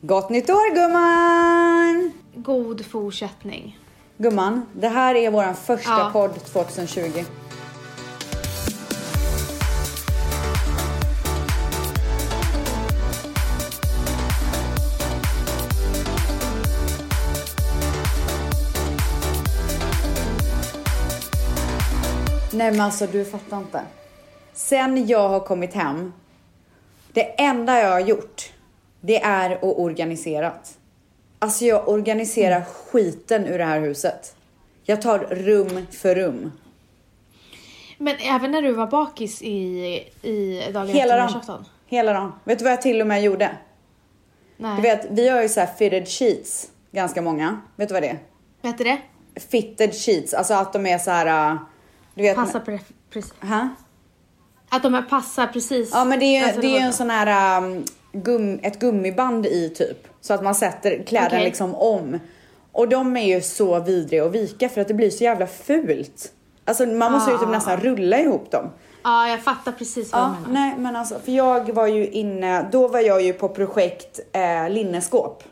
Gott nytt år gumman! God fortsättning. Gumman, det här är vår första Ja. podd 2020. Nej men alltså du fattar inte. Sen jag har kommit hem, det enda jag har gjort, det är att organiserat. Alltså jag organiserar skiten ur det här huset. Jag tar rum för rum. Men även när du var bakis i, i dagen Hela efter dagen. nyårsafton? Hela dagen. Vet du vad jag till och med gjorde? Nej. Du vet, vi har ju så här fitted sheets, ganska många. Vet du vad det är? Vad heter det? Fitted sheets, alltså att de är så här, äh, du vet. Passar pre- precis. Hä? Att de här passar precis. Ja men det är ju, Alltså, det är var- ju en sån här, um, gum, ett gummiband i typ. Så att man sätter kläderna Okej. liksom om. Och de är ju så vidriga att vika för att det blir så jävla fult. Alltså man måste ju typ Ah. nästan rulla ihop dem. Ja, jag fattar precis vad Ja, du menar. nej men alltså för jag var ju inne, då var jag ju på projekt eh, linneskåp.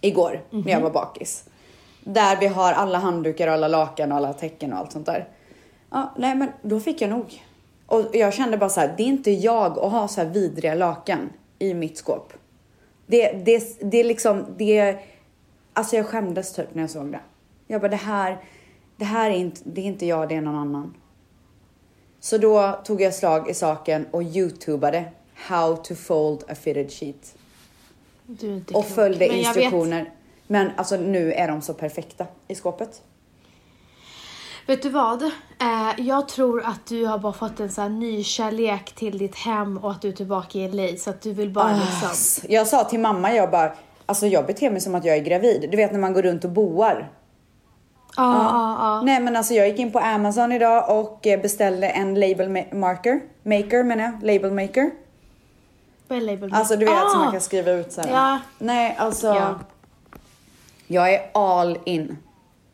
Igår när Mhm. jag var bakis. Där vi har alla handdukar och alla lakan och alla täcken och allt sånt där. Ja, nej men då fick jag nog. Och jag kände bara så här, det är inte jag att ha så här vidriga lakan i mitt skåp. Det, det, det är liksom, det, alltså jag skämdes typ när jag såg det. Jag bara det här, det här är inte, det är inte jag, det är någon annan. Så då tog jag slag i saken och youtubade how to fold a fitted sheet Du är inte och klok. följde Men jag instruktioner. Men alltså nu är de så perfekta i skåpet. Vet, vet du vad? Eh, jag tror att du har bara fått en sån här ny kärlek till ditt hem och att du är tillbaka i LA så att du vill Ah. bara liksom. Ass. Jag sa till mamma, jag bara, alltså jag beter mig som att jag är gravid. Du vet när man går runt och boar. Ja, ja, ja. Nej men alltså jag gick in på Amazon idag och eh, beställde en label ma- marker, maker menar jag, label maker. Well able. Alltså du vet som Ah! man kan skriva ut så här. Ja. Nej alltså. Ja. Jag är all in.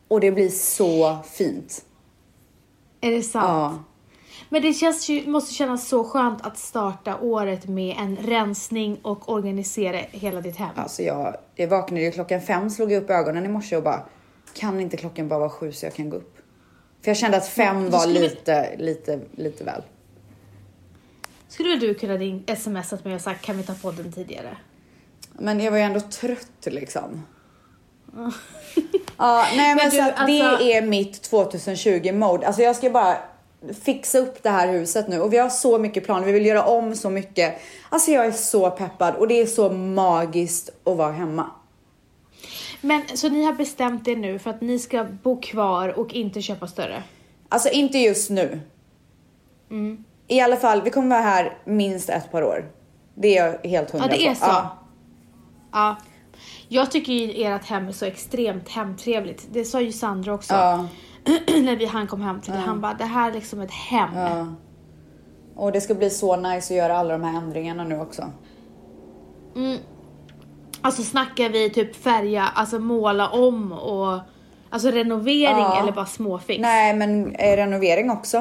Och det blir så fint. Ah, Är det sant? Ja. Men det känns ju, måste kännas så skönt att starta året med en rensning och organisera hela ditt hem. Alltså jag, jag vaknade ju klockan fem, slog jag upp ögonen i morse och bara kan inte klockan bara vara sju så jag kan gå upp? För jag kände att fem du var skulle- lite, lite, lite väl. Skulle väl du kunna ring, smsat mig och sagt kan vi ta podden tidigare? Men jag var ju ändå trött liksom. ja, nej men, Men du, så att alltså- det är mitt 2020 mode. Alltså jag ska bara fixa upp det här huset nu och vi har så mycket planer. Vi vill göra om så mycket. Alltså jag är så peppad och det är så magiskt att vara hemma. Men så ni har bestämt er nu för att ni ska bo kvar och inte köpa större? Alltså inte just nu. Mm. I alla fall, vi kommer vara här minst ett par år. Det är jag helt hundra Ja, det är på. så. Ja. Jag tycker ju ert hem är så extremt hemtrevligt. Det sa ju Sandra också. Ja. När vi, han kom hem till det. Han bara, det här är liksom ett hem. Och det ska bli så nice att göra alla de här ändringarna nu också. Alltså snackar vi typ färga, alltså måla om och alltså renovering Ja. eller bara småfix? Nej, men eh, renovering också.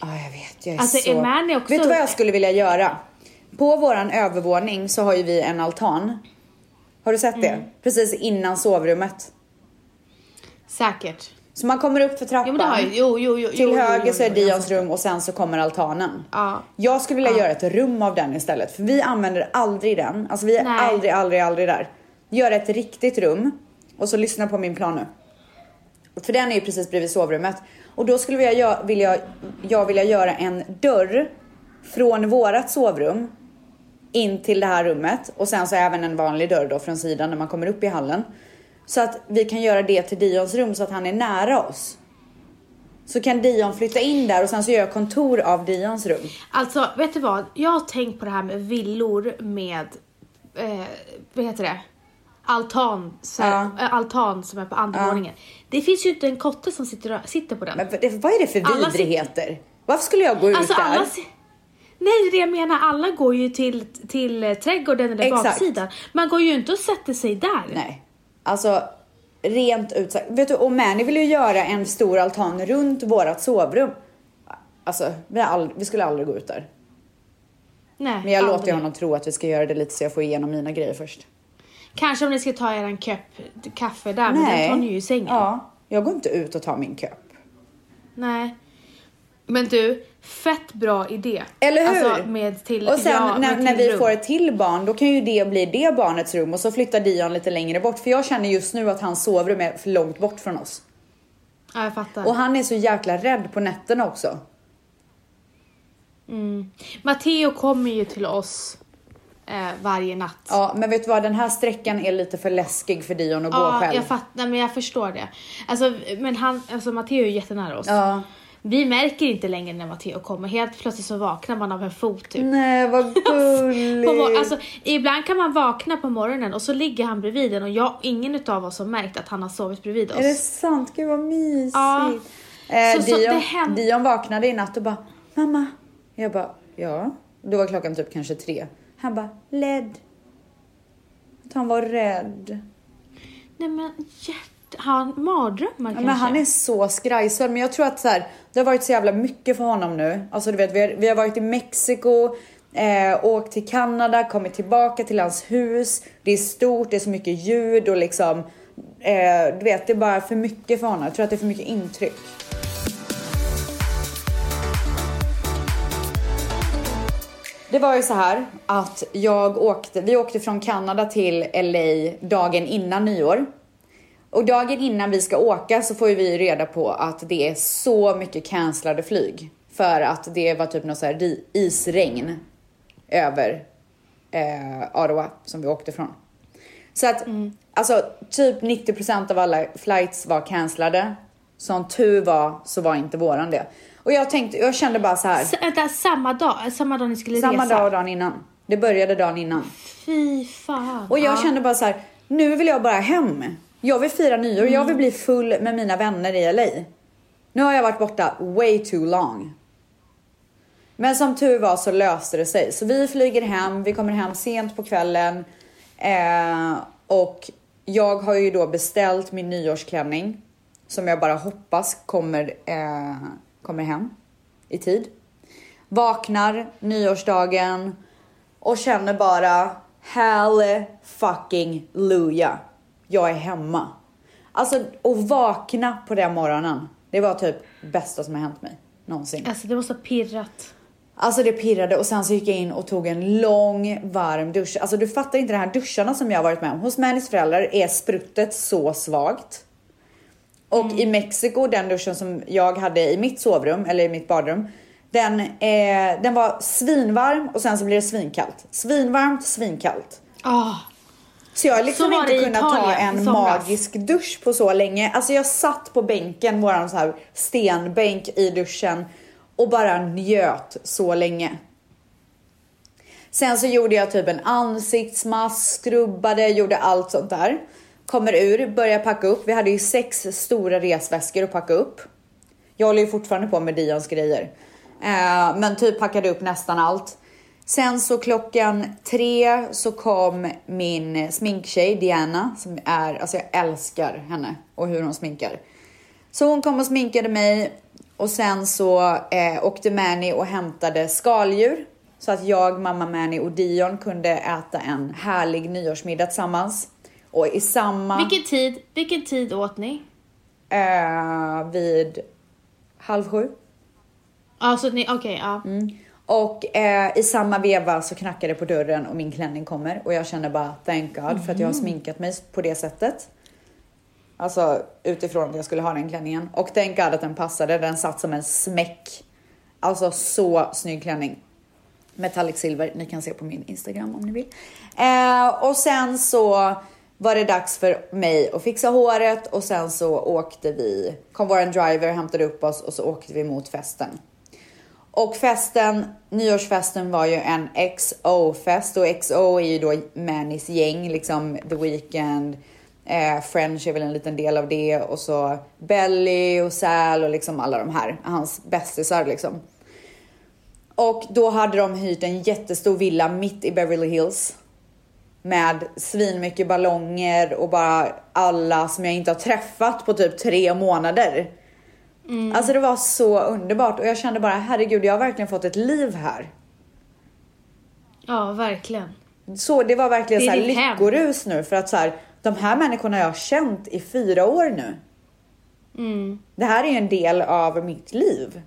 Ja, jag vet. Jag är Alltså, så... är Mani också- Vet du vad jag skulle vilja göra? På våran övervåning så har ju vi en altan. Har du sett Mm. det? Precis innan sovrummet. Säkert. Så man kommer upp för trappan. Jo men det har jag Jo, jo, jo. Till jo, jo, höger jo, så är jo, jag Dions rum och sen så kommer altanen. Ja. Jag skulle vilja göra ett rum av den istället för vi använder aldrig den. Alltså vi är Nej. aldrig, aldrig, aldrig där. Göra ett riktigt rum och så lyssna på min plan nu. För den är ju precis bredvid sovrummet och då skulle jag gö- vilja, jag vilja göra en dörr från vårat sovrum in till det här rummet och sen så även en vanlig dörr då från sidan när man kommer upp i hallen. Så att vi kan göra det till Dions rum så att han är nära oss. Så kan Dion flytta in där och sen så gör jag kontor av Dions rum. Alltså, vet du vad? Jag har tänkt på det här med villor med, eh, vad heter det? Altan, så här, eh, altan som är på andra våningen. Det finns ju inte en kotte som sitter, sitter på den. Men vad det- vad är det för Alla vidrigheter? Varför skulle jag gå ut alltså där? alla... si- Nej, det är det jag menar. Alla går ju till, till eh, trädgården eller Exakt. baksidan. Man går ju inte och sätter sig där. Nej, alltså rent ut sagt. Vet du, och Mani vill ju göra en stor altan runt vårat sovrum. Alltså, vi, har ald- vi skulle aldrig gå ut där. Nej, Men jag låter aldrig. ju honom tro att vi ska göra det lite så jag får igenom mina grejer först. Kanske om ni ska ta er en kopp kaffe där, men Nej. den tar ni ju i sängen. Ja, jag går inte ut och tar min köp. Nej. Men du, fett bra idé. Eller hur? Alltså med till, och sen när, ja, med när till vi rum. får ett till barn, då kan ju det bli det barnets rum och så flyttar Dion lite längre bort. För jag känner just nu att hans sovrum är för långt bort från oss. Ja, jag fattar. Och han är så jäkla rädd på nätterna också. Matteo kommer ju till oss eh, varje natt. Ja, men vet du vad? Den här sträckan är lite för läskig för Dion att gå själv. jag fattar, men jag förstår det. Alltså, men han, alltså Matteo är ju jättenära oss. Ja. Vi märker inte längre när Matteo kommer. Helt plötsligt så vaknar man av en fot typ. Nej, vad gulligt. På mor- alltså, ibland kan man vakna på morgonen och så ligger han bredvid en och jag, ingen utav oss har märkt att han har sovit bredvid oss. Är det sant? Gud vad mysigt. Ja. Eh, Så- så Dion, det händer- Dion vaknade i natt och bara, mamma. Jag bara, ja. Då var klockan typ kanske tre. Han bara, led. Att han var rädd. Nej men hjärt... Han mardrömmar kanske? Men han är så skrajsad. Men jag tror att så här, det har varit så jävla mycket för honom nu. Alltså du vet, vi har, vi har varit i Mexiko, eh, åkt till Kanada, kommit tillbaka till hans hus. Det är stort, det är så mycket ljud och liksom, eh, du vet, det är bara för mycket för honom. Jag tror att det är för mycket intryck. Det var ju så här att jag åkte, vi åkte från Kanada till LA dagen innan nyår. Och dagen innan vi ska åka så får ju vi reda på att det är så mycket cancellade flyg. För att det var typ något så här ri- isregn över eh, Aroa som vi åkte från. Så att alltså typ 90% av alla flights var cancellade. Som tur var så var inte våran det. Och jag tänkte, jag kände bara så här. S- vänta, samma dag? äh, Samma dag ni skulle Samma resa? dag och dagen innan. Det började dagen innan. Fy fan. Och jag Ja. kände bara så här, nu vill jag bara hem. Jag vill fira nyår, jag vill bli full med mina vänner i LA. Nu har jag varit borta way too long. Men som tur var så löste det sig. Så vi flyger hem, vi kommer hem sent på kvällen. Eh, och jag har ju då beställt min nyårsklänning. Som jag bara hoppas kommer, eh, kommer hem i tid. Vaknar nyårsdagen och känner bara hell fucking luja. Jag är hemma. Alltså att vakna på den morgonen. Det var typ bästa som har hänt mig någonsin. Alltså det måste ha pirrat. Alltså det pirrade och sen så gick jag in och tog en lång varm dusch. Alltså du fattar inte de här duscharna som jag har varit med om. Hos Mannys föräldrar är spruttet så svagt. Och Mm. i Mexiko, den duschen som jag hade i mitt sovrum eller i mitt badrum. Den, eh, den var svinvarm och sen så blir det svinkallt. Svinvarmt, svinkallt. Ah. Så jag har liksom Så var det inte i kunnat ta Italien en i somras. magisk dusch på så länge. Alltså jag satt på bänken, våran så här stenbänk i duschen och bara njöt så länge. Sen så gjorde jag typ en ansiktsmask, skrubbade, gjorde allt sånt där. Kommer ur, börjar packa upp. Vi hade ju sex stora resväskor att packa upp. Jag håller ju fortfarande på med Dions grejer. Eh, men typ packade upp nästan allt. Sen så klockan tre så kom min sminktjej Diana som är, alltså jag älskar henne och hur hon sminkar. Så hon kom och sminkade mig och sen så eh, åkte Mani och hämtade skaldjur så att jag, mamma Mani och Dion kunde äta en härlig nyårsmiddag tillsammans. Och i samma... Ah. Vilken tid, vilken tid åt ni? Eh, vid halv sju. Alltså ni, okej ja. Mm. Och eh, i samma veva så knackar det på dörren och min klänning kommer och jag känner bara thank god för att jag har sminkat mig på det sättet. Alltså utifrån att jag skulle ha den klänningen och thank god att den passade. Den satt som en smäck. Alltså så snygg klänning. Metallic silver. Ni kan se på min Instagram om ni vill. Eh, och sen så var det dags för mig att fixa håret och sen så åkte vi, kom våran driver och hämtade upp oss och så åkte vi mot festen. Och festen, nyårsfesten var ju en XO-fest och XO är ju då Mannys gäng, liksom The Weeknd, eh, French är väl en liten del av det och så Belly och Sal och liksom alla de här, hans bästisar liksom. Och då hade de hyrt en jättestor villa mitt i Beverly Hills. Med svinmycket ballonger och bara alla som jag inte har träffat på typ tre månader. Mm. Alltså det var så underbart och jag kände bara herregud jag har verkligen fått ett liv här. Ja, verkligen. Så det var verkligen Det är så här ditt hem. lyckorus nu för att så här, de här människorna jag har känt i fyra år nu. Mm. Det här är ju en del av mitt liv.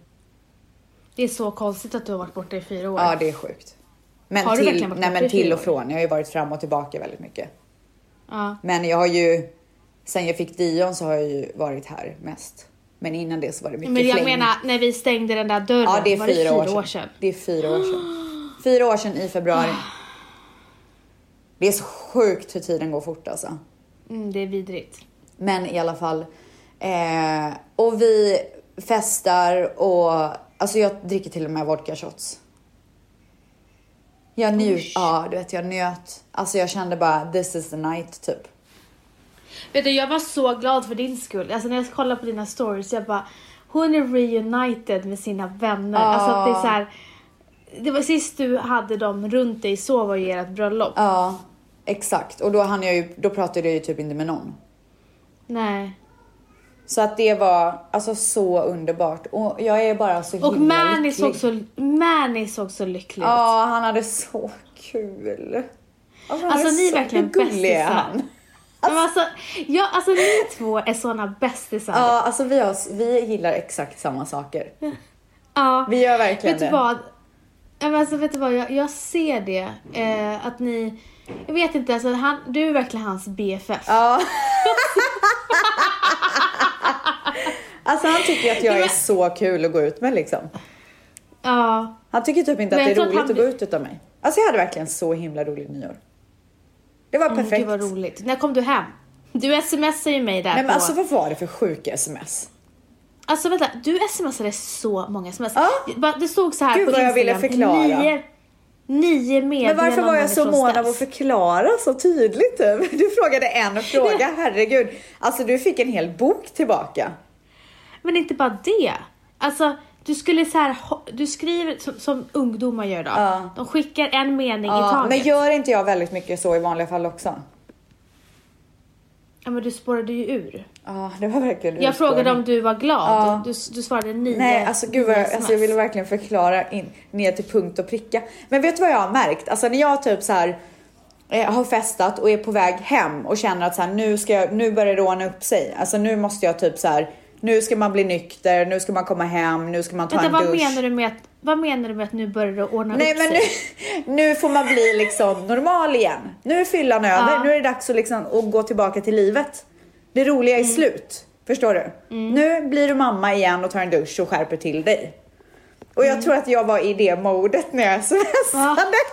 Det är så konstigt att du har varit borta i fyra år. Ja, det är sjukt. Men Har du till, verkligen varit nej, borta men i fyra till och år? från. Jag har ju varit fram och tillbaka väldigt mycket. Ja. Men jag har ju, sen jag fick Dion så har jag ju varit här mest. Men innan det så var det mycket Men jag fläng. menar, när vi stängde den där dörren, ja, det är var fyra, det fyra år, sedan. Det är fyra år sedan. Fyra år sedan i februari. Det är så sjukt hur tiden går fort alltså. Mm, det är vidrigt. Men i alla fall. Eh, och vi festar och alltså jag dricker till och med vodka shots. Jag njöt, ja du vet jag njöt. Alltså jag kände bara this is the night typ. Vet du, jag var så glad för din skull. Alltså när jag kollade på dina stories, jag bara, hon är reunited med sina vänner. Alltså att det är så här, det var sist du hade dem runt dig så var ju ert bröllop. Ja, exakt. Och då hann jag ju, då pratade jag ju typ inte med någon. Nej. Så att det var alltså så underbart och jag är bara så Och himla Mani lycklig. såg, så, Mani såg så lycklig ut. Ja, han hade så kul. Alltså, han Alltså, ni är så verkligen gullig är bästisar. han. Men alltså, ja, alltså ni två är såna bästisar. Ja, alltså vi, har, vi gillar exakt samma saker. Ja. Vi gör verkligen Vet du det. vad? Ja, men Alltså, vet du vad? Jag, jag ser det. Eh, att ni... Jag vet inte, alltså, han, du är verkligen hans BFF. Ja. alltså han tycker att jag är så kul att gå ut med liksom. Ja. Han tycker typ inte att Men det jag är tror att roligt han att gå blir- ut utan mig. Alltså jag hade verkligen så himla roligt nyår. Det var perfekt. Mm, gud vad roligt. När kom du hem? Du smsar ju mig där Nej men på... alltså vad var det för sjuka sms? Alltså vänta, du smsade så många sms. Ja. Bara- Det stod så här Gud, på vad jag Instagram. ville förklara. Nio, nio Men meddelanden varför var jag så från mån Stens. av att förklara så tydligt? typ? Du frågade en fråga, herregud. Alltså du fick en hel bok tillbaka. Men inte bara det. Alltså, du skulle så här, ho- du skriver som, som ungdomar gör då. Ja. De skickar en mening i Ja, taget. men gör inte jag väldigt mycket så i vanliga fall också? Ja men du spårade ju ur. Ja, det var verkligen Jag frågade om du var glad. Ja. Du, du svarade nio. Nej, alltså gud vad jag, nio alltså, jag sms. ville verkligen förklara in, ner till punkt och pricka. Men vet du vad jag har märkt? Alltså när jag typ så här eh, har festat och är på väg hem och känner att så här, nu, ska jag, nu börjar det ordna upp sig. Alltså nu måste jag typ så här. Nu ska man bli nykter, nu ska man komma hem, nu ska man ta Vänta, en vad dusch. menar, du med att, vad menar du med att nu börjar det ordna Nej upp men nu, sig? nu får man bli liksom normal igen. Nu är fyllan över, Ja. nu är det dags att, liksom, att gå tillbaka till livet. Det roliga är Mm. slut, förstår du? Nu blir du mamma igen och tar en dusch och skärper till dig. Och Mm. jag tror att jag var i det modet när jag smsade.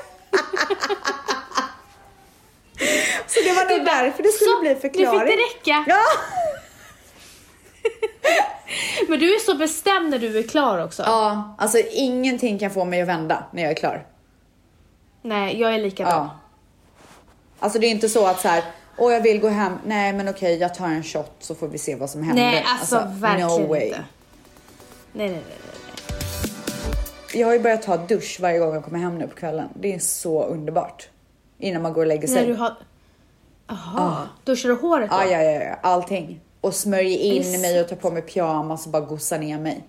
Så det var nog därför det skulle Så, bli förklaring. Nu fick det räcka. Ja, Men du är så bestämd när du är klar också. ja alltså ingenting kan få mig att vända när jag är klar. Nej, jag är likadan. Ja. Alltså det är inte så att så här, åh jag vill gå hem, nej men okej jag tar en shot så får vi se vad som händer. Nej, alltså, verkligen no way. inte. Nej, nej, nej. nej. Jag har ju börjat ta dusch varje gång jag kommer hem nu på kvällen. Det är så underbart. Innan man går och lägger När sig. du har... Jaha, duschar du håret då? Ja, ja, ja, ja, allting. Och smörjer Är in det mig och tar på mig pyjamas och bara gosar ner mig.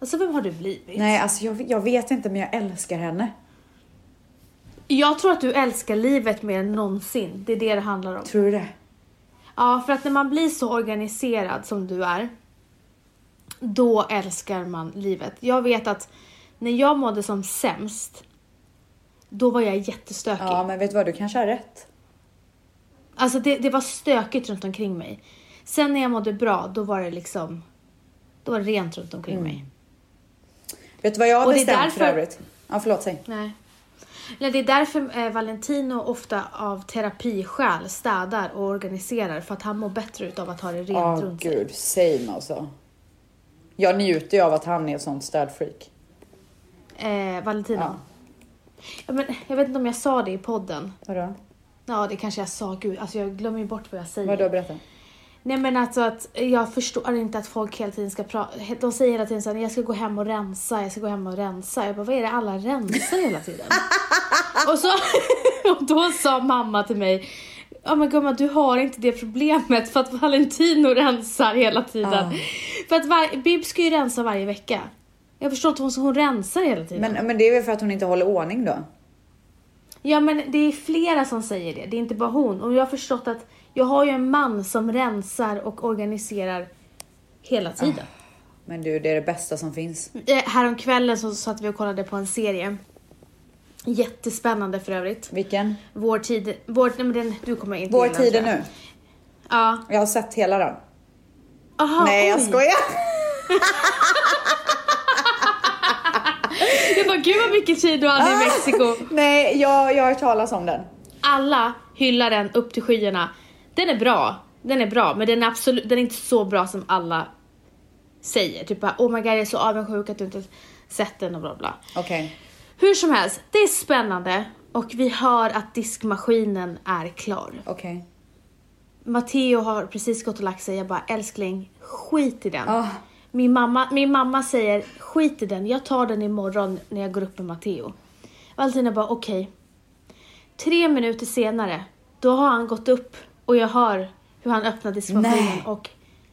Alltså vem har du blivit? Nej, alltså jag, jag vet inte men jag älskar henne. Jag tror att du älskar livet mer än någonsin. Det är det det handlar om. Tror du det? Ja, för att när man blir så organiserad som du är, då älskar man livet. Jag vet att när jag mådde som sämst, då var jag jättestökig. Ja, men vet du vad? Du kanske har rätt. Alltså det, det var stökigt runt omkring mig. Sen när jag mådde bra, då var det liksom, då var det rent runt omkring mig. Vet du vad jag har Och det är bestämt för därför- övrigt? Ja, förlåt, säg. Nej. Nej, det är därför eh, Valentino ofta av terapiskäl städar och organiserar för att han mår bättre utav att ha det rent Ja, runt sig. gud. Same alltså. Jag njuter ju av att han är ett sånt städfreak. Eh, Valentino. Ja. Ja, men, jag vet inte om jag sa det i podden. Vadå? Ja, det kanske jag sa. Gud, alltså jag glömmer ju bort vad jag säger. Vadå, berätta. Nej men alltså att jag förstår inte att folk hela tiden ska prata, de säger hela tiden såhär, jag ska gå hem och rensa, jag ska gå hem och rensa. Jag bara, vad är det alla rensar hela tiden? och, så, och då sa mamma till mig, ja men gumman du har inte det problemet för att Valentino rensar hela tiden. Ah. För att var, Bib ska ju rensa varje vecka. Jag förstår inte hon, hon rensar hela tiden. Men, men det är väl för att hon inte håller ordning då? Ja men det är flera som säger det, det är inte bara hon. Och jag har förstått att jag har ju en man som rensar och organiserar hela tiden. Men du, det är det bästa som finns. Eh, Häromkvällen så satt vi och kollade på en serie. Jättespännande för övrigt. Vilken? Vår tid, vår, nej men den, du kommer inte Vår gilla den, tid är tror jag. nu. Ja. Jag har sett hela den. Aha, Nej, jag Ah, oj. skojar. Jag bara, gud vad mycket tid du Ah! hade i Ah. Mexiko. Nej, jag, jag har hört talas om den. Alla hyllar den upp till skyarna. Den är bra, den är bra, men den är absolut, den är inte så bra som alla säger. Typ bara, oh my god jag är så avundsjuk att du inte sett den och bla bla. Okej. Hur som helst, det är spännande och vi hör att diskmaskinen är klar. Okej. Matteo har precis gått och lagt sig. Jag bara, älskling, skit i den. Ah. Min, mamma, min mamma säger, skit i den. Jag tar den imorgon när jag går upp med Matteo. Valentina bara, okej. Tre minuter senare, då har han gått upp och jag hör hur han öppnar diskmaskinen Nej. och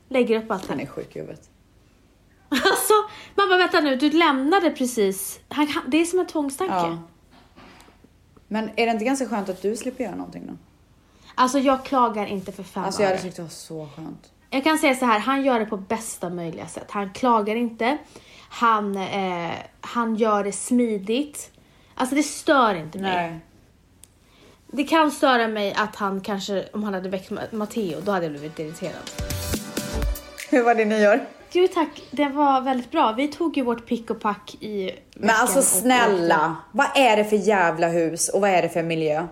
lägger upp Han allting. är sjuk i huvudet. Alltså, mamma vänta nu, du lämnade precis. Han, han, det är som en tvångstanke. Ja. Men är det inte ganska skönt att du slipper göra någonting då? Alltså jag klagar inte för fem Alltså jag öre. hade tyckt det var så skönt. Jag kan säga så här, han gör det på bästa möjliga sätt. Han klagar inte. Han, eh, han gör det smidigt. Alltså det stör inte mig. Nej. Det kan störa mig att han kanske, om han hade väckt Ma- Matteo, då hade jag blivit irriterad. Hur var det nyår? Du tack, det var väldigt bra. Vi tog ju vårt pick och pack i Men alltså snälla, vad är det för jävla hus och vad är det för miljö?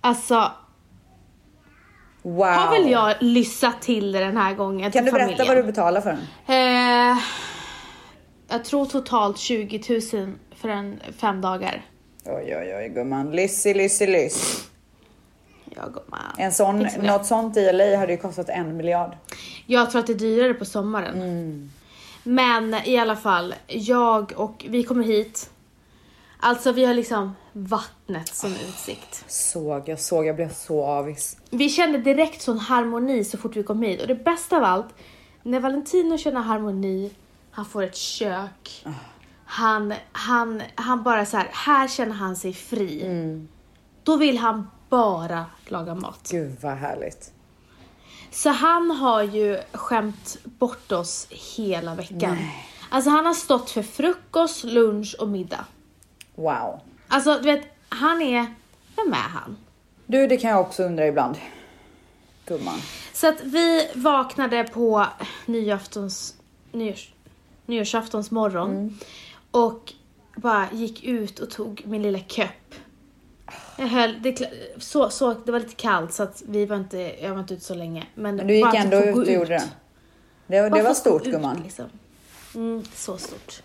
Alltså, Wow. har väl jag lyssat till det den här gången kan du till berätta familjen. vad du betalar för den? Eh, jag tror totalt 20 000 för en fem dagar. Oj, oj, oj gumman. Lissy, Lissy, Liss. Jag går med. En sån, Fixar vi det. något sånt i LA hade ju kostat en miljard. Jag tror att det är dyrare på sommaren. Men i alla fall, jag och vi kommer hit. Alltså vi har liksom vattnet som utsikt. Såg, jag såg, jag blev så avis. Vi kände direkt sån harmoni så fort vi kom hit och det bästa av allt, när Valentino känner harmoni, han får ett kök. Han, han, han bara så här, här känner han sig fri. Då vill han bara laga mat. Gud vad härligt. Så han har ju skämt bort oss hela veckan. Alltså han har stått för frukost, lunch och middag. Wow. Alltså du vet, han är... Vem är han? Du, det kan jag också undra ibland. Gumman. Så att vi vaknade på nyaftons, nyårs, nyårsaftons morgon Mm. och bara gick ut och tog min lilla köpp. Jag höll, det, kla- så, så, det var lite kallt så att vi var inte, jag var inte ute så länge. Men, Men du gick bara att ändå få ut gå och gjorde det. Det, Bara det var för att stort gå ut, gumman. liksom. Mm, så stort.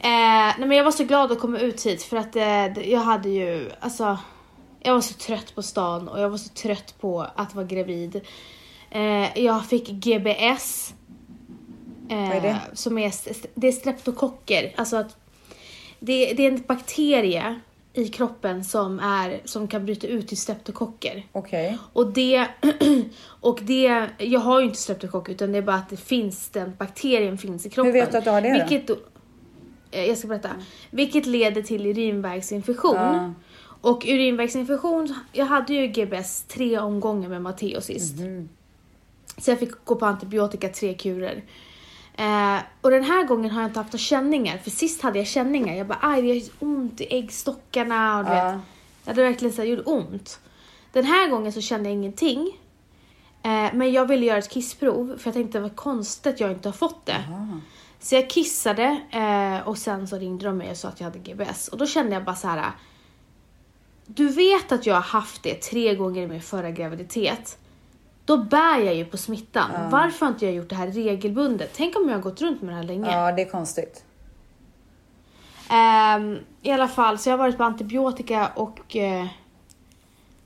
Eh, nej men jag var så glad att komma ut hit för att eh, det- jag hade ju, alltså jag var så trött på stan och jag var så trött på att vara gravid. Eh, jag fick GBS. Eh, är det? Som är, st- det är streptokocker, alltså att det, det är en bakterie i kroppen som, är, som kan bryta ut till streptokocker. Okej. Och det, och det, jag har ju inte streptokock utan det är bara att det finns, den bakterien finns i kroppen. vet du att du har det då? Mm. vilket då? Eh, Jag ska berätta. Vilket leder till urinvägsinfektion. Ja. Och urinvägsinfektion, jag hade ju GBS tre omgångar med Matteo sist. Mhm. Så jag fick gå på antibiotika tre kurer. Eh, och den här gången har jag inte haft några känningar, för sist hade jag känningar. Jag bara aj, det gör ont i äggstockarna och du Ja. vet. Ja, det verkligen så här, gjorde ont. Den här gången så kände jag ingenting. Eh, men jag ville göra ett kissprov för jag tänkte vad konstigt att jag inte har fått det. Så jag kissade eh, och sen så ringde de mig och sa att jag hade GBS. Och då kände jag bara så här. Du vet att jag har haft det tre gånger i min förra graviditet. Då bär jag ju på smittan. Varför har inte jag gjort det här regelbundet? Tänk om jag har gått runt med det här länge. Ja, det är konstigt. Ehm, I alla fall, så jag har varit på antibiotika och eh,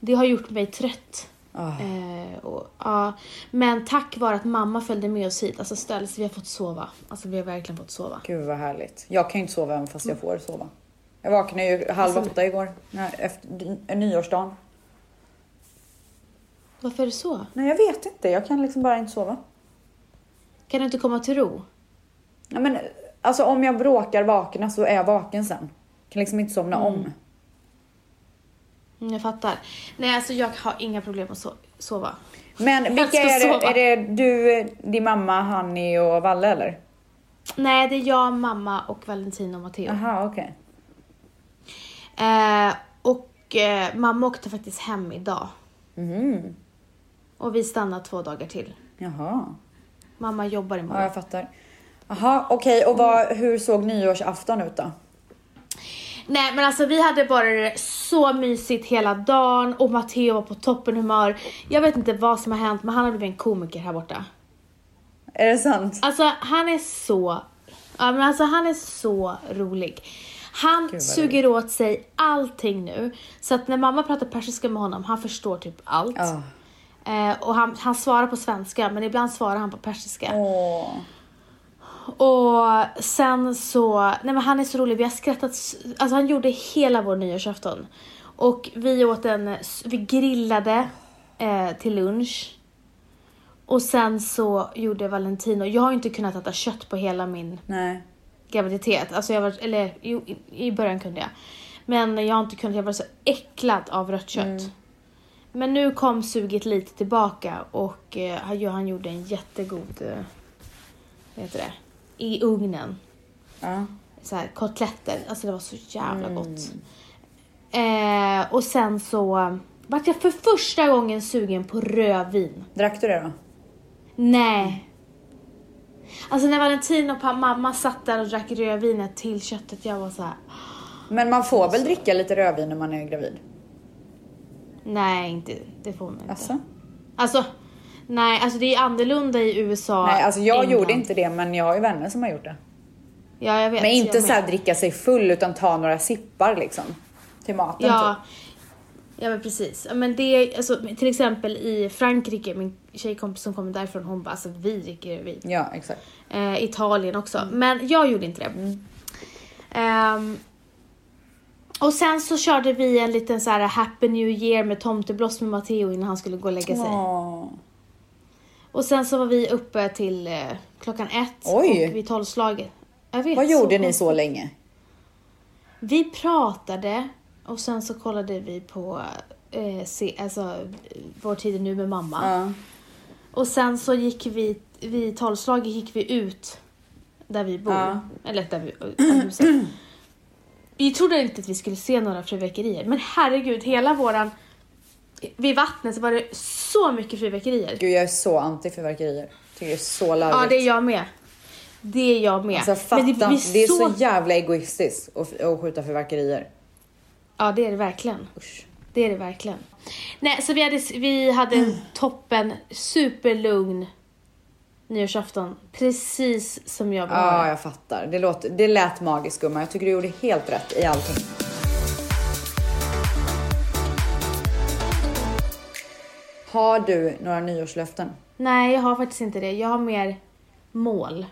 det har gjort mig trött. Ah. Eh, och, ja. men tack vare att mamma följde med oss hit, alltså ställs, vi har fått sova. Alltså vi har verkligen fått sova. Gud vad härligt. Jag kan ju inte sova även fast Mm. jag får sova. Jag vaknade ju halv Alltså- åtta igår. Nej, efter d- nyårsdagen. Varför är det så? Nej, jag vet inte. Jag kan liksom bara inte sova. Kan du inte komma till ro? Ja, men Mm. alltså om jag bråkar vakna så är jag vaken sen. Kan liksom inte somna om. Jag fattar. Nej, alltså jag har inga problem att so- sova. Men vilka ska är det? sova. Är det du, din mamma, Hanni och Valle eller? Nej, det är jag, mamma och Valentino och Matteo. Aha, okej. Eh, och eh, mamma åkte faktiskt hem idag. Mhm. Och vi stannar två dagar till. Jaha. Mamma jobbar imorgon. Ja, jag fattar. Jaha, okej. Och Mm. vad, hur såg nyårsafton ut då? Nej men alltså vi hade bara det så mysigt hela dagen och Matteo var på toppenhumör. Jag vet inte vad som har hänt men han har blivit en komiker här borta. Är det sant? Alltså han är så, ja men alltså han är så rolig. Han vad suger åt sig allting nu. Så att när mamma pratar persiska med honom, han förstår typ allt. Ja. Eh, och han, han svarar på svenska men ibland svarar han på persiska. Åh. Och sen så, nej men han är så rolig, vi har skrattat, s- alltså han gjorde hela vår nyårsafton. Och vi åt en, s- vi grillade eh, till lunch. Och sen så gjorde Valentino, jag har inte kunnat äta kött på hela min Nej. graviditet. Alltså jag var, eller jo, i, i början kunde jag. Men jag har inte kunnat, jag var så äcklad av rött kött. Men nu kom suget lite tillbaka och eh, han- han gjorde en jättegod, eh, vad heter det, i ugnen. Ja. Så här, kotletter, alltså det var så jävla gott. Eh, och sen så vart jag för första gången sugen på rödvin. Drack du det då? Nej. Alltså när Valentin och pa- mamma satt där och drack rödvinet till köttet, jag var så här. Men man får Alltså. väl dricka lite rödvin när man är gravid? Nej, inte, det får man inte. Alltså, Alltså? nej, alltså det är annorlunda i USA. Nej, alltså jag England. gjorde inte det men jag har ju vänner som har gjort det. Ja, jag vet. Men jag inte med. så här dricka sig full utan ta några sippar liksom. Till maten typ. Ja. Ja men precis. Ja, Men det, alltså, till exempel i Frankrike, min tjejkompis som kommer därifrån, hon bara alltså vi dricker vin. typ. Ja, exakt. Eh, Italien också. Mm. Men jag gjorde inte det. Ehm, och sen så körde vi en liten så här happy new year med tomtebloss med Matteo innan han skulle gå och lägga sig. Åh. Och sen så var vi uppe till eh, klockan ett Oj. och vid tolvslaget. Jag vet, Vad gjorde så ni så länge? Vi pratade och sen så kollade vi på eh, se, alltså, eh, Vår tid är nu med mamma. Ja. Och sen så gick vi, vid tolvslaget gick vi ut där vi bor. Ja. Eller där vi, äh, huset. Vi trodde inte att vi skulle se några fyrverkerier men herregud hela våran... Vid vattnet så var det så mycket fyrverkerier. Gud jag är så anti fyrverkerier. Tycker det är så larvigt. Ja det är jag med. Det är jag med. Alltså fatta men inte. blir det är så jävla egoistiskt att, att skjuta fyrverkerier. Ja det är det verkligen. Usch. Det är det verkligen. Nej, så vi hade, vi hade Mm. en toppen, superlugn nyårsafton. Precis som jag Ja, ville ha det. jag fattar. Det, låter, det lät magiskt gumman. Jag tycker du gjorde helt rätt i allting. Har du några nyårslöften? Nej, jag har faktiskt inte det. Jag har mer mål.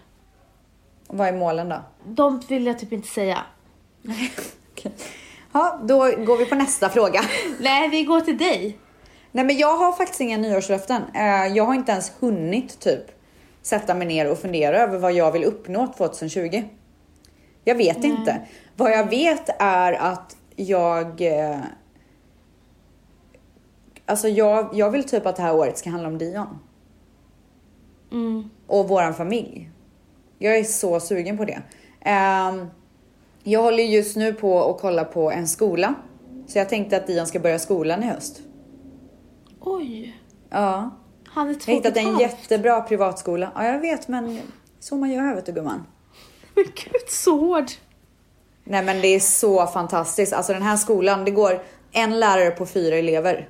Vad är målen då? De vill jag typ inte säga. Okej. Ja, då går vi på nästa fråga. Nej, vi går till dig. Nej men jag har faktiskt inga nyårslöften. Eh, Jag har inte ens hunnit typ sätta mig ner och fundera över vad jag vill uppnå 2020. Jag vet inte. Vad jag vet är att jag... eh, Alltså jag, jag vill typ att det här året ska handla om Dion. Mm. och våran familj. Jag är så sugen på det. Ehm, jag håller just nu på att kolla på en skola. Så jag tänkte att Dion ska börja skolan i höst. Oj, Ja. han är Jag har hittat en två jättebra privatskola. Ja, jag vet men så man gör vet du gumman. Men gud, så hård. Nej men det är så fantastiskt. Alltså den här skolan, det går en lärare på fyra elever.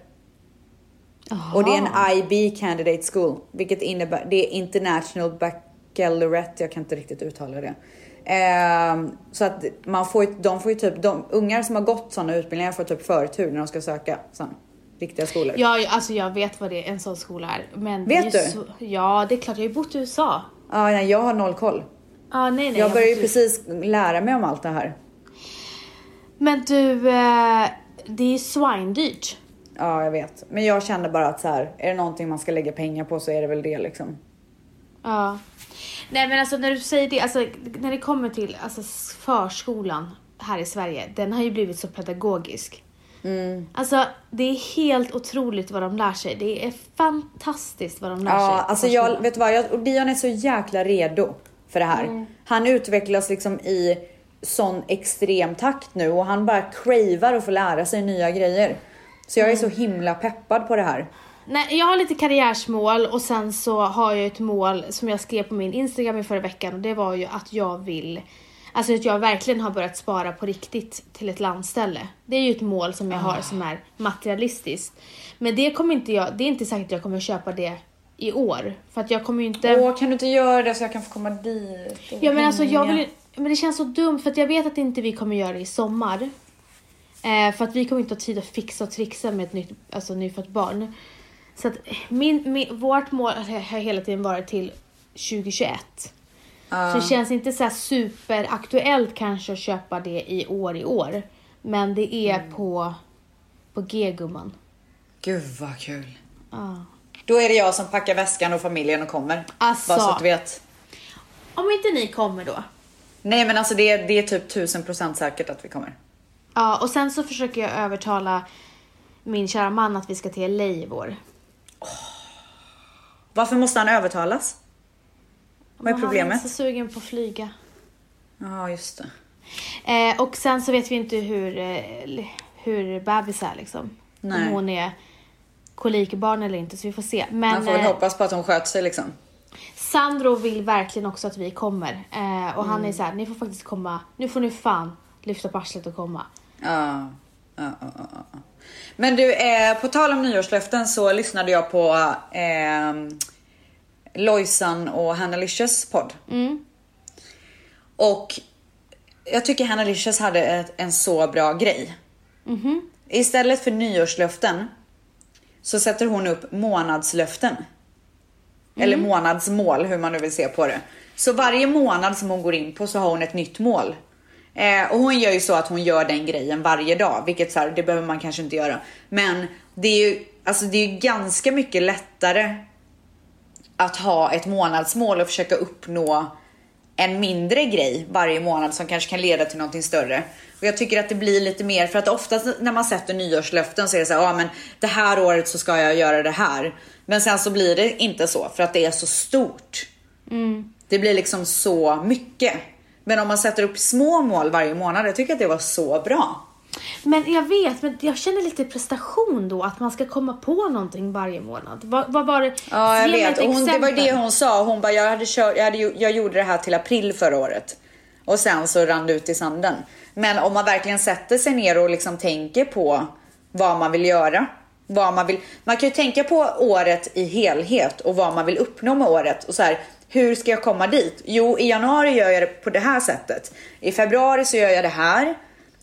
Och det är en IB candidate school, vilket innebär, det är international baccalaureate, jag kan inte riktigt uttala det. Ehm, så att man får ju, de får ju typ, de ungar som har gått sådana utbildningar får typ förtur när de ska söka sen, riktiga skolor. Ja, jag- alltså jag vet vad det är, en sån skola är. Men det Vet är du? ju Så... Ja, det är klart. Jag har ju bott i USA. Ja, nej, jag har noll koll. Ah, nej, nej, Jag börjar ju bott i- precis lära mig om allt det här. Men du, eh, det är ju svindyrt. Ja, jag vet. Men jag känner bara att så här, är det någonting man ska lägga pengar på så är det väl det liksom. Ja. Nej men alltså när du säger det, alltså, när det kommer till alltså, s- förskolan här i Sverige, den har ju blivit så pedagogisk. Mm. Alltså det är helt otroligt vad de lär sig. Det är fantastiskt vad de lär sig. Ja, på alltså förskolan. jag, vet du vad, jag, och Dion är så jäkla redo för det här. Mm. Han utvecklas liksom i sån extrem takt nu och han bara cravar att få lära sig nya grejer. Så jag är Mm. så himla peppad på det här. Nej, jag har lite karriärsmål och sen så har jag ett mål som jag skrev på min Instagram i förra veckan och det var ju att jag vill, alltså att jag verkligen har börjat spara på riktigt till ett landställe. Det är ju ett mål som jag har som är materialistiskt. Men det kommer inte jag, det är inte säkert att jag kommer köpa det i år. För att jag kommer ju inte... Åh, kan du inte göra det så jag kan få komma dit? och Ja men alltså jag hänga? vill men det känns så dumt för att jag vet att inte vi kommer göra det i sommar. Eh, för att vi kommer inte ha tid att fixa och trixa med ett nytt, alltså, nyfött barn. Så att min, min, vårt mål har har hela tiden varit till 2021. Så det känns inte så här superaktuellt kanske att köpa det i år i år. Men det är på, på G gumman. Gud vad kul. Ah. Då är det jag som packar väskan och familjen och kommer. Alltså. Bara så att du vet. Om inte ni kommer då. Nej men alltså det, det är typ 1000% säkert att vi kommer. Ja och sen så försöker jag övertala min kära man att vi ska till LA i vår. Varför måste han övertalas? Vad är Men Han är problemet? så sugen på att flyga. Ja just det. Eh, och sen så vet vi inte hur, eh, hur bebis är liksom. Nej. Om hon är kolikbarn eller inte, så vi får se. Men Man får väl eh, hoppas på att hon sköter sig liksom. Sandro vill verkligen också att vi kommer. Eh, och Mm. han är så här, ni får faktiskt komma, nu får ni fan lyfta på arslet och komma. Ja. ja, ja, ja, ja. Men du, eh, på tal om nyårslöften så lyssnade jag på eh, Lojsan och Hanna Licious podd. Mm. Och jag tycker Hanna Licious hade ett, en så bra grej. Mm-hmm. Istället för nyårslöften så sätter hon upp månadslöften. Eller månadsmål, hur man nu vill se på det. Så varje månad som hon går in på så har hon ett nytt mål. Eh, och hon gör ju så att hon gör den grejen varje dag, vilket så här, det behöver man kanske inte göra. Men det är ju, alltså det är ju ganska mycket lättare att ha ett månadsmål och försöka uppnå en mindre grej varje månad som kanske kan leda till någonting större. Och jag tycker att det blir lite mer för att oftast när man sätter nyårslöften så är det så här, ja men det här året så ska jag göra det här. Men sen så blir det inte så för att det är så stort. Det blir liksom så mycket. Men om man sätter upp små mål varje månad, jag tycker att det var så bra. Men jag vet, men jag känner lite prestation då att man ska komma på någonting varje månad. Vad, vad var det? Ja, jag Ge mig vet. ett Och hon, det var ju det exempel. hon sa. Hon bara, jag, hade kört, jag, hade, ju- jag gjorde det här till april förra året. Och sen så rann det ut i sanden. Men om man verkligen sätter sig ner och liksom tänker på vad man vill göra. Vad man, vill, man kan ju tänka på året i helhet och vad man vill uppnå med året. Och så här, hur ska jag komma dit? Jo, i januari gör jag det på det här sättet. I februari så gör jag det här.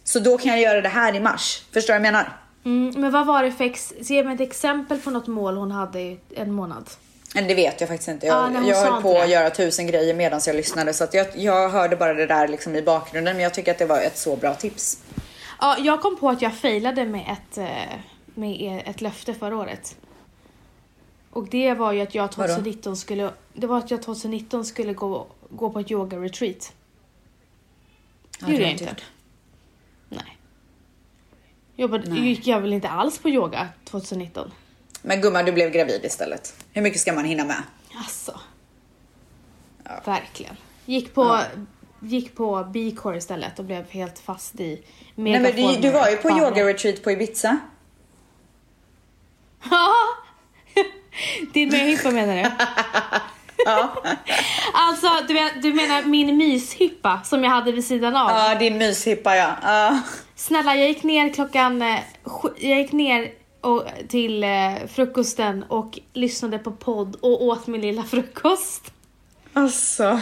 Så då kan jag göra det här i mars. Förstår du vad jag menar? Mm, men vad var det för, ex- ge mig ett exempel på något mål hon hade i en månad. Men det vet jag faktiskt inte. Jag, Ja, nej, hon jag sa höll inte på det. att göra tusen grejer medan jag lyssnade så att jag, jag hörde bara det där liksom i bakgrunden men jag tycker att det var ett så bra tips. Ja, jag kom på att jag failade med ett, eh, med ett löfte förra året. Och det var ju att jag 2019 skulle, det var att jag 2019 skulle gå, gå på ett yoga-retreat. Ja, Det gjorde det jag har inte. inte Nej. Jobbade, gick jag väl inte alls på yoga 2019? Men gumman, du blev gravid istället. Hur mycket ska man hinna med? Alltså. Verkligen. Gick på, gick på B-core istället och blev helt fast i Nej, men du, du var ju på megaformer. yoga-retreat på Ibiza. Ja! Din möhippa menar du? alltså, du, men, du menar min myshippa som jag hade vid sidan av? Ja, din myshippa ja. ja. Snälla, jag gick ner klockan... eh, sju- Jag gick ner och, till eh, frukosten och lyssnade på podd och åt min lilla frukost. Alltså.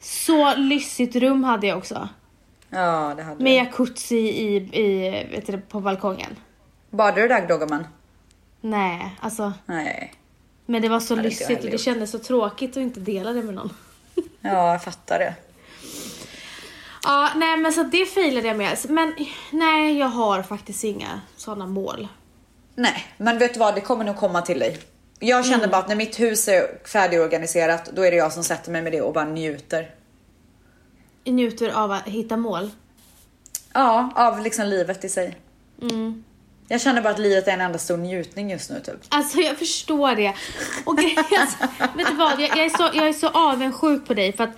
Så lyssigt rum hade jag också. Ja, det hade Med du. jacuzzi i, i, vet du, det, på balkongen. Badade du dag då gumman? Nej, alltså. Nej. Men det var så Hade inte jag lyssigt heller och det gjort. kändes så tråkigt att inte dela det med någon. Ja, jag fattar det. Ja, nej men så det failade jag med. Men nej, jag har faktiskt inga sådana mål. Nej, men vet du vad? Det kommer nog komma till dig. Jag känner Mm. bara att när mitt hus är färdigorganiserat, då är det jag som sätter mig med det och bara njuter. Jag njuter av att hitta mål. Mm. Ja, av liksom livet i sig. Jag känner bara att livet är en enda stor njutning just nu typ. Alltså jag förstår det. Och grejen, alltså, vet du vad, jag, jag, är så, jag är så avundsjuk på dig för att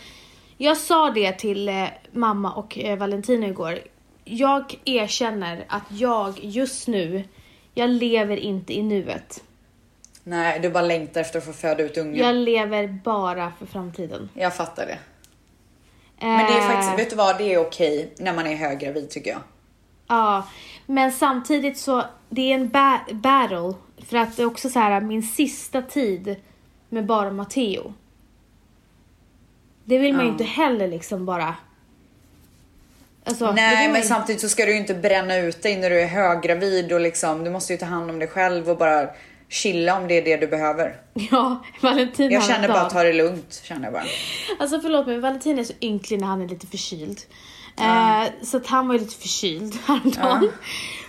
jag sa det till eh, mamma och eh, Valentino igår. Jag erkänner att jag just nu, jag lever inte i nuet. Nej, du bara längtar efter att få föda ut ungen. Jag lever bara för framtiden. Eh, Jag fattar det. Men det är Mm. faktiskt, vet du vad, det är okej när man är höggravid tycker jag. Ja, men samtidigt så, det är en ba- battle. För att det är också så här min sista tid med bara Matteo. Det vill man ju inte heller liksom bara... Alltså, det vill Nej, man men ju- samtidigt så ska du ju inte bränna ut dig när du är höggravid och liksom, du måste ju ta hand om dig själv och bara chilla om det är det du behöver. Ja, Valentin Jag har känner en bara dag. att ta det lugnt, känner jag bara. Alltså förlåt mig, Valentin är så ynklig när han är lite förkyld. Eh, så att han var ju lite förkyld häromdagen.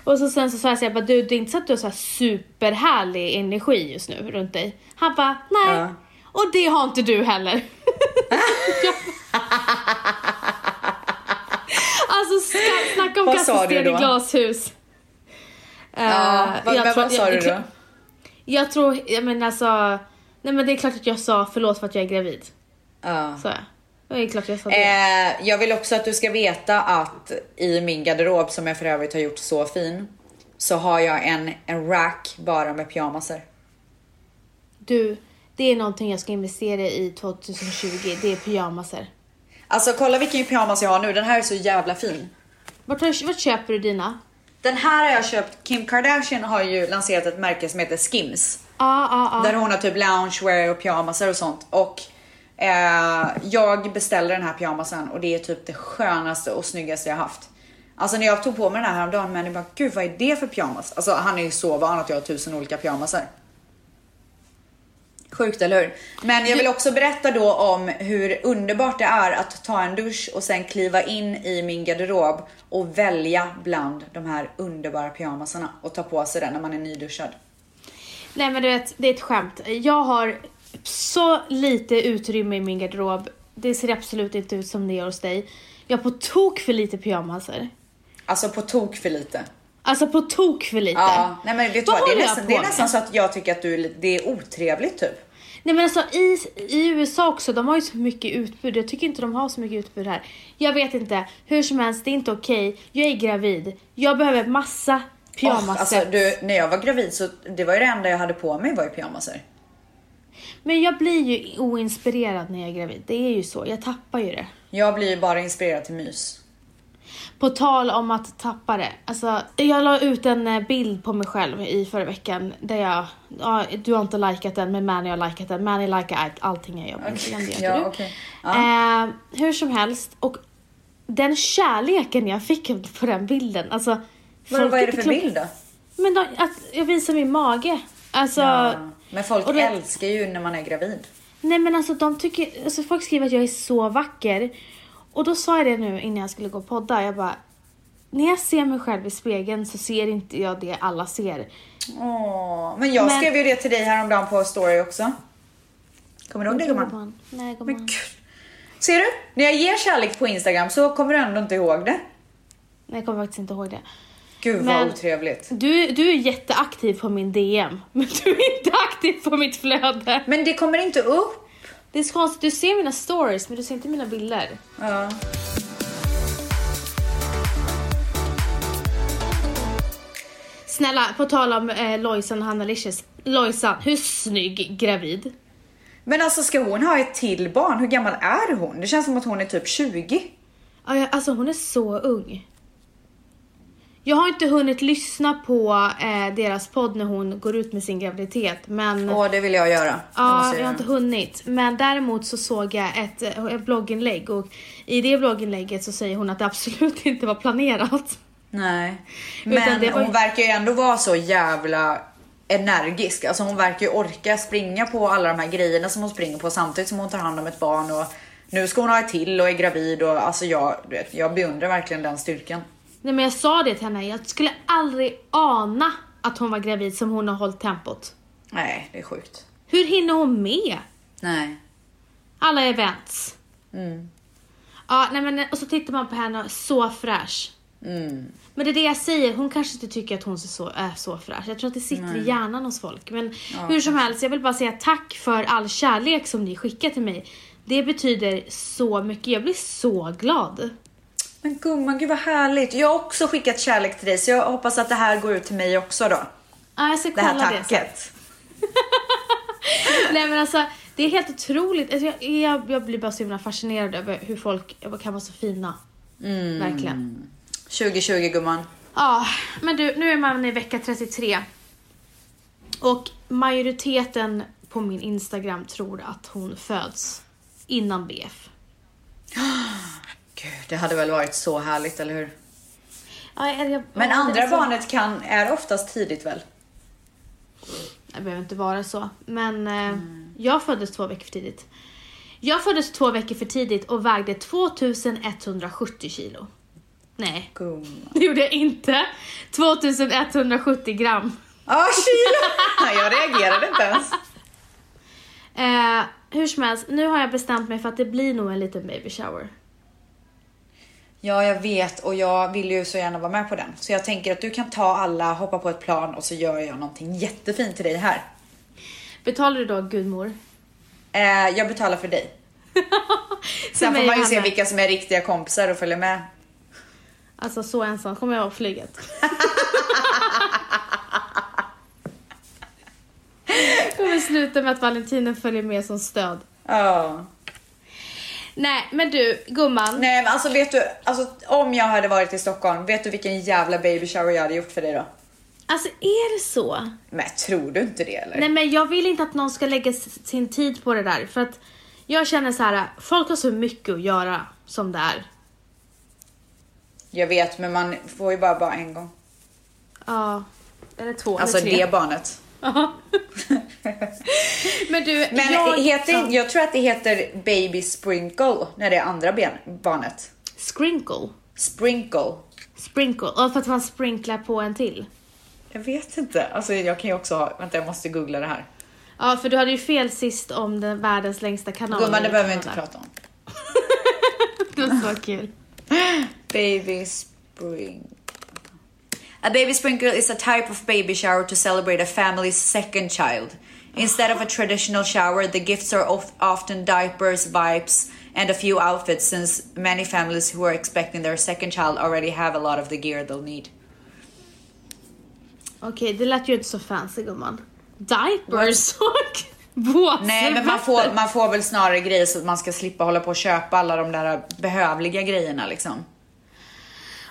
Och så sen så sa jag såhär, du det är inte så att du har så här superhärlig energi just nu runt dig. Han bara, nej. Ja. Och det har inte du heller. Jag- alltså ska, snacka om Vad sa kasta du sten i då? glashus. Eh, Ja, vad, jag men tror- vad sa jag- du jag- då? Jag tror, jag menar alltså, nej men det är klart att jag sa förlåt för att jag är gravid. Ja. Så jag. Det är klart jag sa det. Eh, jag vill också att du ska veta att i min garderob, som jag för övrigt har gjort så fin, så har jag en, en rack bara med pyjamaser. Du, det är någonting jag ska investera i 2020. Det är pyjamaser. Alltså kolla vilken pyjamas jag har nu, den här är så jävla fin. Vart, har, vart köper du dina? Den här har jag köpt, Kim Kardashian har ju lanserat ett märke som heter Skims. Ja, ja, Där ja. hon har typ loungewear och pyjamasar och sånt. Och eh, jag beställde den här pyjamasen och det är typ det skönaste och snyggaste jag haft. Alltså när jag tog på mig den här häromdagen, men jag bara gud vad är det för pyjamas? Alltså han är ju så van att jag har tusen olika pyjamasar. Sjukt eller hur? Men jag vill också berätta då om hur underbart det är att ta en dusch och sen kliva in i min garderob och välja bland de här underbara pyjamasarna och ta på sig den när man är nyduschad. Nej men du vet, det är ett skämt. Jag har så lite utrymme i min garderob. Det ser absolut inte ut som det gör hos dig. Jag har på tok för lite pyjamaser. Alltså på tok för lite. Alltså på tok för lite. Ja, nej men vet du vad, det är, håller jag nästan, på det är med? nästan så att jag tycker att du, är lite- det är otrevligt typ. Nej men alltså i, i USA också, de har ju så mycket utbud. Jag tycker inte de har så mycket utbud här. Jag vet inte, hur som helst, det är inte okej. Jag är gravid. Jag behöver massa pyjamasset. Åh, alltså, du, när jag var gravid så det var ju det enda jag hade på mig var ju pyjamaser. Men jag blir ju oinspirerad när jag är gravid. Det är ju så, jag tappar ju det. Jag blir ju bara inspirerad till mys. På tal om att tappa det. Alltså, jag la ut en eh, bild på mig själv i förra veckan där jag, ja, du har inte likat den men Mani har likat den. Mani likar allt, allting jag gör på Instagram, det gör inte Ja, du. okej. Eh, hur som helst, och den kärleken jag fick på den bilden. Alltså, Vadå, folk vad är det inte för klok- bild då? Men de, att jag visar min mage. Alltså, Ja. Men folk och det- älskar ju när man är gravid. Nej men alltså de tycker, alltså folk skriver att jag är så vacker. Och då sa jag det nu innan jag skulle gå och podda, jag bara när jag ser mig själv i spegeln så ser inte jag det alla ser. Åh, men jag Men- skrev ju det till dig häromdagen på story också. Kommer du ihåg det gumman? Nej Men gumman. gud. Ser du? När jag ger kärlek på Instagram så kommer du ändå inte ihåg det. Nej, jag kommer faktiskt inte ihåg det. Gud Men- vad otrevligt. Du, du är jätteaktiv på min DM, men du är inte aktiv på mitt flöde. Men det kommer inte upp. Det är så konstigt, du ser mina stories men du ser inte mina bilder. Ja. Snälla, på tal om eh, Lojsan och Hanna Licious. Lojsan, hur snygg gravid? Men alltså ska hon ha ett till barn? Hur gammal är hon? Det känns som att hon är typ 20. Ja, jag- Alltså hon är så ung. Jag har inte hunnit lyssna på eh, deras podd när hon går ut med sin graviditet men Åh, det vill jag göra. Det måste Mm. Ja, jag har inte göra. hunnit. Men däremot så såg jag ett, eh, ett blogginlägg och i det blogginlägget så säger hon att det absolut inte var planerat. Nej. Utan Men det var ju- hon verkar ju ändå vara så jävla energisk. Alltså hon verkar ju orka springa på alla de här grejerna som hon springer på samtidigt som hon tar hand om ett barn och nu ska hon ha ett till och är gravid och alltså jag, du vet, jag beundrar verkligen den styrkan. Nej men jag sa det till henne, jag skulle aldrig ana att hon var gravid som hon har hållit tempot. Nej, det är sjukt. Hur hinner hon med? Nej. Alla events. Mm. Ja, nej men och så tittar man på henne, så fräsch. Mm. Men det är det jag säger, hon kanske inte tycker att hon är så, är så fräsch. Jag tror att det sitter i hjärnan hos folk. Men hur som helst, jag vill bara säga tack för all kärlek som ni skickar till mig. Det betyder så mycket. Jag blir så glad. Men gumman, gud vad härligt. Jag har också skickat kärlek till dig så jag hoppas att det här går ut till mig också då. Ja, jag ska Det kolla här det. sen. tacket. Nej men alltså, det är helt otroligt. Alltså, jag, jag, jag blir bara så himla fascinerad över hur folk kan vara så fina. Mm. Verkligen. 2020 gumman. Ja, men du, nu är man i vecka 33. Och majoriteten på min Instagram tror att hon föds innan BF. Gud, det hade väl varit så härligt, eller hur? Ja, eller jag, Men ja, det är andra så- barnet kan, är oftast tidigt väl? Det behöver inte vara så. Men eh, Mm. jag föddes två veckor för tidigt. Jag föddes två veckor för tidigt och vägde 2170 kilo. Nej, Gumman. det gjorde jag inte. 2170 gram. Ah, kilo! Jag reagerade inte ens. Eh, hur som helst, nu har jag bestämt mig för att det blir nog en liten baby shower. Ja, jag vet och jag vill ju så gärna vara med på den. Så jag tänker att du kan ta alla, hoppa på ett plan och så gör jag någonting jättefint till dig här. Betalar du då gudmor? Eh, jag betalar för dig. Sen För får mig man ju och se Hanna. vilka som är riktiga kompisar och följer med. Alltså så ensam kommer jag vara på flyget. kommer sluta med att Valentinen följer med som stöd. Ja. Nej, men du gumman. Nej men alltså vet du, alltså, om jag hade varit i Stockholm, vet du vilken jävla baby shower jag hade gjort för dig då? Alltså är det så? Men tror du inte det eller? Nej men jag vill inte att någon ska lägga s- sin tid på det där för att jag känner så här, folk har så mycket att göra som det är. Jag vet men man får ju bara, bara en gång. Ja, eller två Alltså eller tre. det barnet. Ja. men du, Men jag... heter, Ja. jag tror att det heter baby sprinkle när det är andra ben, barnet. Sprinkle. Sprinkle. Sprinkle. Ja, för att man sprinklar på en till. Jag vet inte. Alltså jag kan ju också ha, vänta jag måste googla det här. Ja, för du hade ju fel sist om den världens längsta kanal. Gumman det behöver vi inte Kanada. prata om. Det var så kul. Baby spring. A baby sprinkle is a type of baby shower to celebrate a family's second child. Instead of a traditional shower, the gifts are of- often diapers, wipes, and a few outfits since many families who are expecting their second child already have a lot of the gear they'll need. Okej, det lät ju inte så fancy gumman. Diapers och våtservetter. Nej, men man får, man får väl snarare grejer så att man ska slippa hålla på och köpa alla de där behövliga grejerna liksom.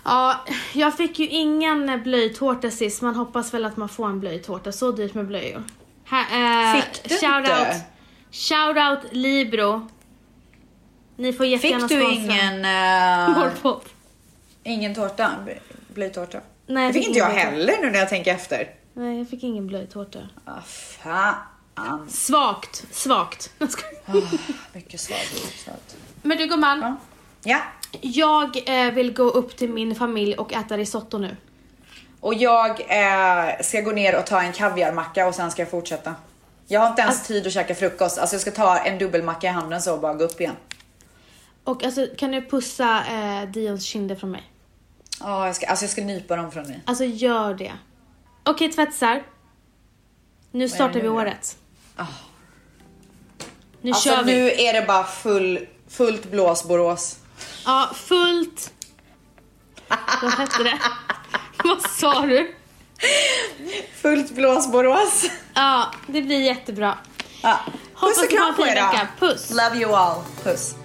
Ja, jag fick ju ingen blöjtårta sist. Man hoppas väl att man får en blöjtårta. Så dyrt med blöjor. Här, eh, Fick du shout inte? Out, shout out Libro. Ni får jättegärna Fick du sponsra. ingen, eh, Morpop. ingen tårta? Bl- Blöjtårta? det Nej, jag fick fick inte jag ingen heller nu när jag tänker efter. Nej, jag fick ingen blöjtårta. Ah, fan. Svagt, svagt. Jag skojar. Mycket svagt. Men du gumman, Ja. ja. jag eh, vill gå upp till min familj och äta risotto nu. Och jag eh, ska gå ner och ta en kaviarmacka och sen ska jag fortsätta. Jag har inte ens tid att käka frukost. Alltså jag ska ta en dubbelmacka i handen så och bara gå upp igen. Och alltså, kan du pussa eh, Dions kinder från mig? Ja, jag ska, alltså jag ska nypa dem från dig. Alltså gör det. Okej tvättisar. Nu startar vi nu då? Ah. året. Nu Alltså kör vi. nu är det bara full, fullt blås Borås. Ja, fullt... Vad hette det? Vad sa du? Fullt blås Borås. Ja, det blir jättebra. Ja. Hoppas Puss och du har kram en på fin er då. vecka. Puss. Love you all. Puss.